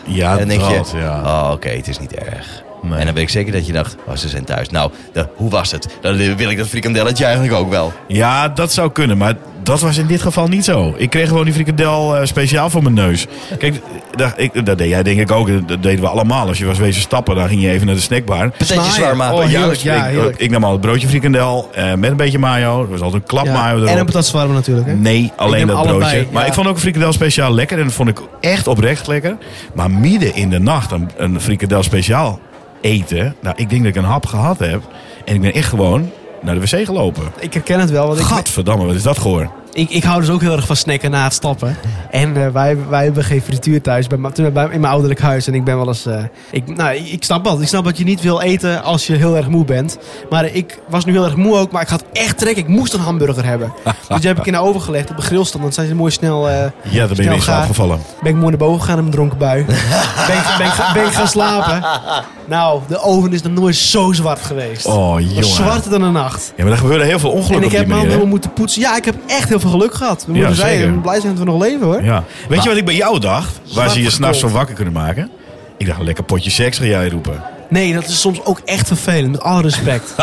Ja,
en dan denk
dat,
je,
ja.
oh oké, het is niet erg.
Nee.
En dan weet ik zeker dat je dacht, oh, ze zijn thuis. Nou, dat- hoe was het? Dan wil ik dat frikandelletje eigenlijk ook wel.
Ja, dat zou kunnen, maar dat was in dit geval niet zo. Ik kreeg gewoon die frikandel eh, speciaal voor mijn neus. Kijk, dat, ik, dat deed jij denk ik ook. Dat deden we allemaal. Als je was wezen stappen, dan ging je even naar de snackbar.
Patatjes
Smaaien.
warm maken.
Oh,
Ja,
heerlijk,
dus
ja,
ik,
heerlijk.
ik nam al het broodje frikandel eh, met een beetje mayo. Er was altijd een klap
Ja.
mayo erop.
En een patatswarme natuurlijk, hè?
Nee, alleen
neem
dat
allebei,
broodje. Maar
ja.
ik vond ook een frikandel speciaal lekker. En dat vond ik echt oprecht lekker. Maar midden in de nacht een, een frikandel speciaal eten. Nou, ik denk dat ik een hap gehad heb. En ik ben echt gewoon naar de wc gelopen.
Ik herken het wel, want ik,
Gadverdamme, wat is dat gehoor?
ik, ik hou dus ook heel erg van snacken na het stappen. En eh, wij, wij hebben geen frituur thuis bij, mijn- toen- bij, in mijn ouderlijk huis. En ik ben wel eens... eh, ik, nou, ik, ik snap wat. Ik snap dat je niet wil eten als je heel erg moe bent. Maar ik was nu heel erg moe ook. Maar ik had echt trek. Ik moest een hamburger hebben. dus die heb ik in de oven gelegd op een grillstand. Dan zijn ze mooi snel... eh,
Ja, daar ben je
snel
in slaap
gaar.
gevallen.
Ben ik mooi naar boven gegaan in mijn dronken bui. ben, ik, ben, ik- ben ik gaan slapen. Nou, de oven is nog nooit zo zwart geweest.
Oh, jongen.
Was zwarter dan een nacht.
Ja, maar er gebeuren heel veel
en
ongelukken
ik
op
heb
die
mijn handen helemaal
manier. hè?
moeten poetsen. Ja, ik heb echt heel veel geluk gehad. We moeten
zeker.
zijn blij zijn dat we nog leven hoor.
Ja. Weet
Nou,
je wat ik bij jou dacht? Waar ze je
Zwart
s'nachts van
gekold.
wakker kunnen maken? Ik dacht, een lekker potje seks ga jij roepen.
Nee, dat is soms ook echt vervelend. Met alle respect.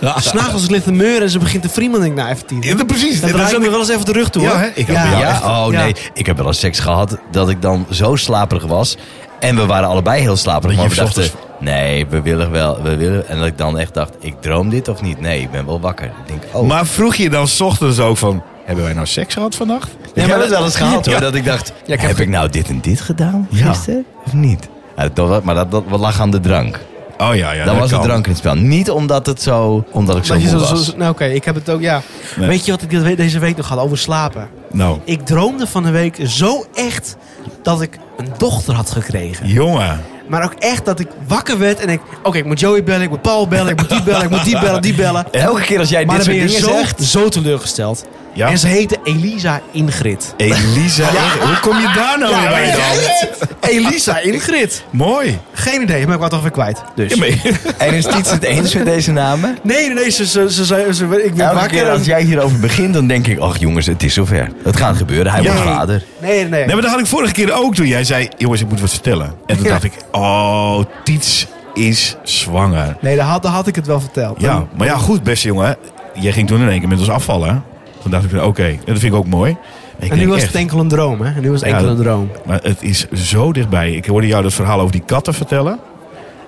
S'nachts als het ligt te meuren en ze begint te friemen. denk ik, nou even tien.
precies.
Dan draai ik me wel eens even de rug toe
Ja,
hoor.
hè? Ik heb bij
Ja,
jou echt-
oh
Ja.
nee. Ik heb wel eens seks gehad dat ik dan zo slaperig was. En we waren allebei heel slaperig.
Dat
Maar
je
we
s
dachten,
ochtends-
nee, we willen wel. We willen. En dat ik dan echt dacht, ik droom dit of niet? Nee, ik ben wel wakker. Ik denk, oh.
Maar vroeg je dan 's ochtends ook van... Hebben wij nou seks gehad vannacht?
ik heb het wel eens gehad hoor.
Ja.
Dat ik dacht,
ik
heb,
heb
ik nou dit en dit gedaan
Ja.
gisteren? Of niet? Ja, dat was- maar dat, dat lag aan de drank.
Oh ja, ja.
dat was de
kan.
drank in het spel. Niet omdat, het zo, omdat ik zo
Dat je
moe
zo,
was.
zo- nou oké, ik heb het ook, ja.
Nee.
Weet je wat ik dit- deze week nog had over slapen?
Nou,
Ik droomde van de week zo echt dat ik een dochter had gekregen.
jongen.
Maar ook echt dat ik wakker werd en ik... Oké, ik moet Joey bellen, ik moet Paul bellen, ik moet die bellen, ik moet die bellen, die bellen.
Elke keer als jij
Maar
dit
dan ben
soort
je
dingen
zo,
zegt...
zo teleurgesteld.
Ja?
En ze heette Elisa Ingrid.
Elisa. Hoe kom je daar nou weer bij dan?
Elisa Ingrid.
Mooi.
Geen idee, maar ik was het alweer kwijt. Dus.
Ja, maar-
En is Tiets het eens met deze namen?
Nee, nee, nee, ze, ze, ze, ze- ze- ik ben
Elke
wakker.
keer
en-
als jij hierover begint, dan denk ik... Ach jongens, het is zover. Het gaat gebeuren. Hij
Ja.
wordt vader.
Nee, nee,
Nee,
nee.
maar dat had ik vorige keer ook toen jij zei... Jongens, ik moet wat vertellen. En toen
Ja.
dacht ik... Oh, Tiets is zwanger.
Nee, daar had, daar had ik het wel verteld.
Ja,
Dan-
maar ja, goed, beste jongen. Jij ging toen in één keer met ons afvallen. hè? Toen dacht ik, oké, en dat vind ik ook mooi. Ik
En nu
denk
was
echt,
het enkel een droom, hè? En nu was het
Ja,
enkel een
dat-
droom.
Maar het is zo dichtbij. Ik hoorde jou dat verhaal over die katten vertellen.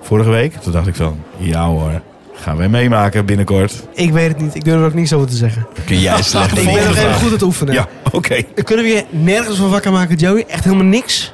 Vorige week. Toen dacht ik van, ja hoor. Gaan wij meemaken binnenkort.
Ik weet het niet. Ik durf er ook niks over te zeggen.
Kun jij slecht
Ik ben
Volgende
nog even
vraag.
goed aan het oefenen.
Ja, oké.
Kunnen we je nergens van wakker maken, Joey? Echt helemaal niks?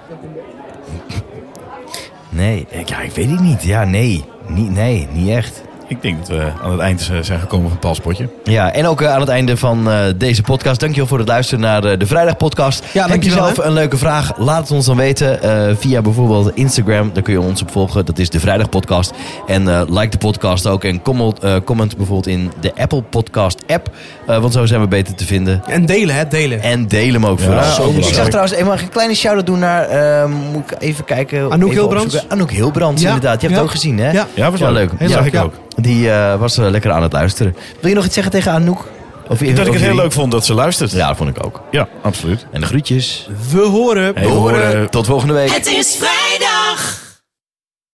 Nee, ik- ja, ik weet het niet. Ja, nee. Niet, nee, niet echt.
Ik denk dat we aan het eind eh, zijn gekomen van Palspotje.
Ja, en ook eh, aan het einde van eh, deze podcast. Dankjewel voor het luisteren naar eh, de Vrijdag Podcast. Heb je
dankjewel,
zelf
hè.
een leuke vraag? Laat het ons dan weten eh, via bijvoorbeeld Instagram. Daar kun je ons op volgen. Dat is de Vrijdag Podcast. En eh, like de podcast ook. En comment, eh, comment bijvoorbeeld in de Apple Podcast app. Eh, want zo zijn we beter te vinden.
En delen, hè? Delen.
En deel hem ook
Ja,
vooral.
zo belangrijk.
dus ik zag trouwens even een kleine shout-out doen naar... eh, moet ik even kijken...
Anouk
even
Hilbrands?
opzoeken. Anouk Hilbrands,
Ja,
inderdaad. Je hebt het
ja.
ook gezien, hè?
Ja.
Ja, was
Ja,
leuk.
leuk.
Dat
Ja,
zag ik
ja.
ook.
Die eh, was eh, lekker aan het luisteren. Wil je nog iets zeggen tegen Anouk? Of,
Dat ik het heel leuk vond dat ze luistert.
Ja, dat vond ik ook.
Ja, absoluut.
En de groetjes.
We horen.
Hey, we horen.
Tot volgende week.
Het is vrijdag.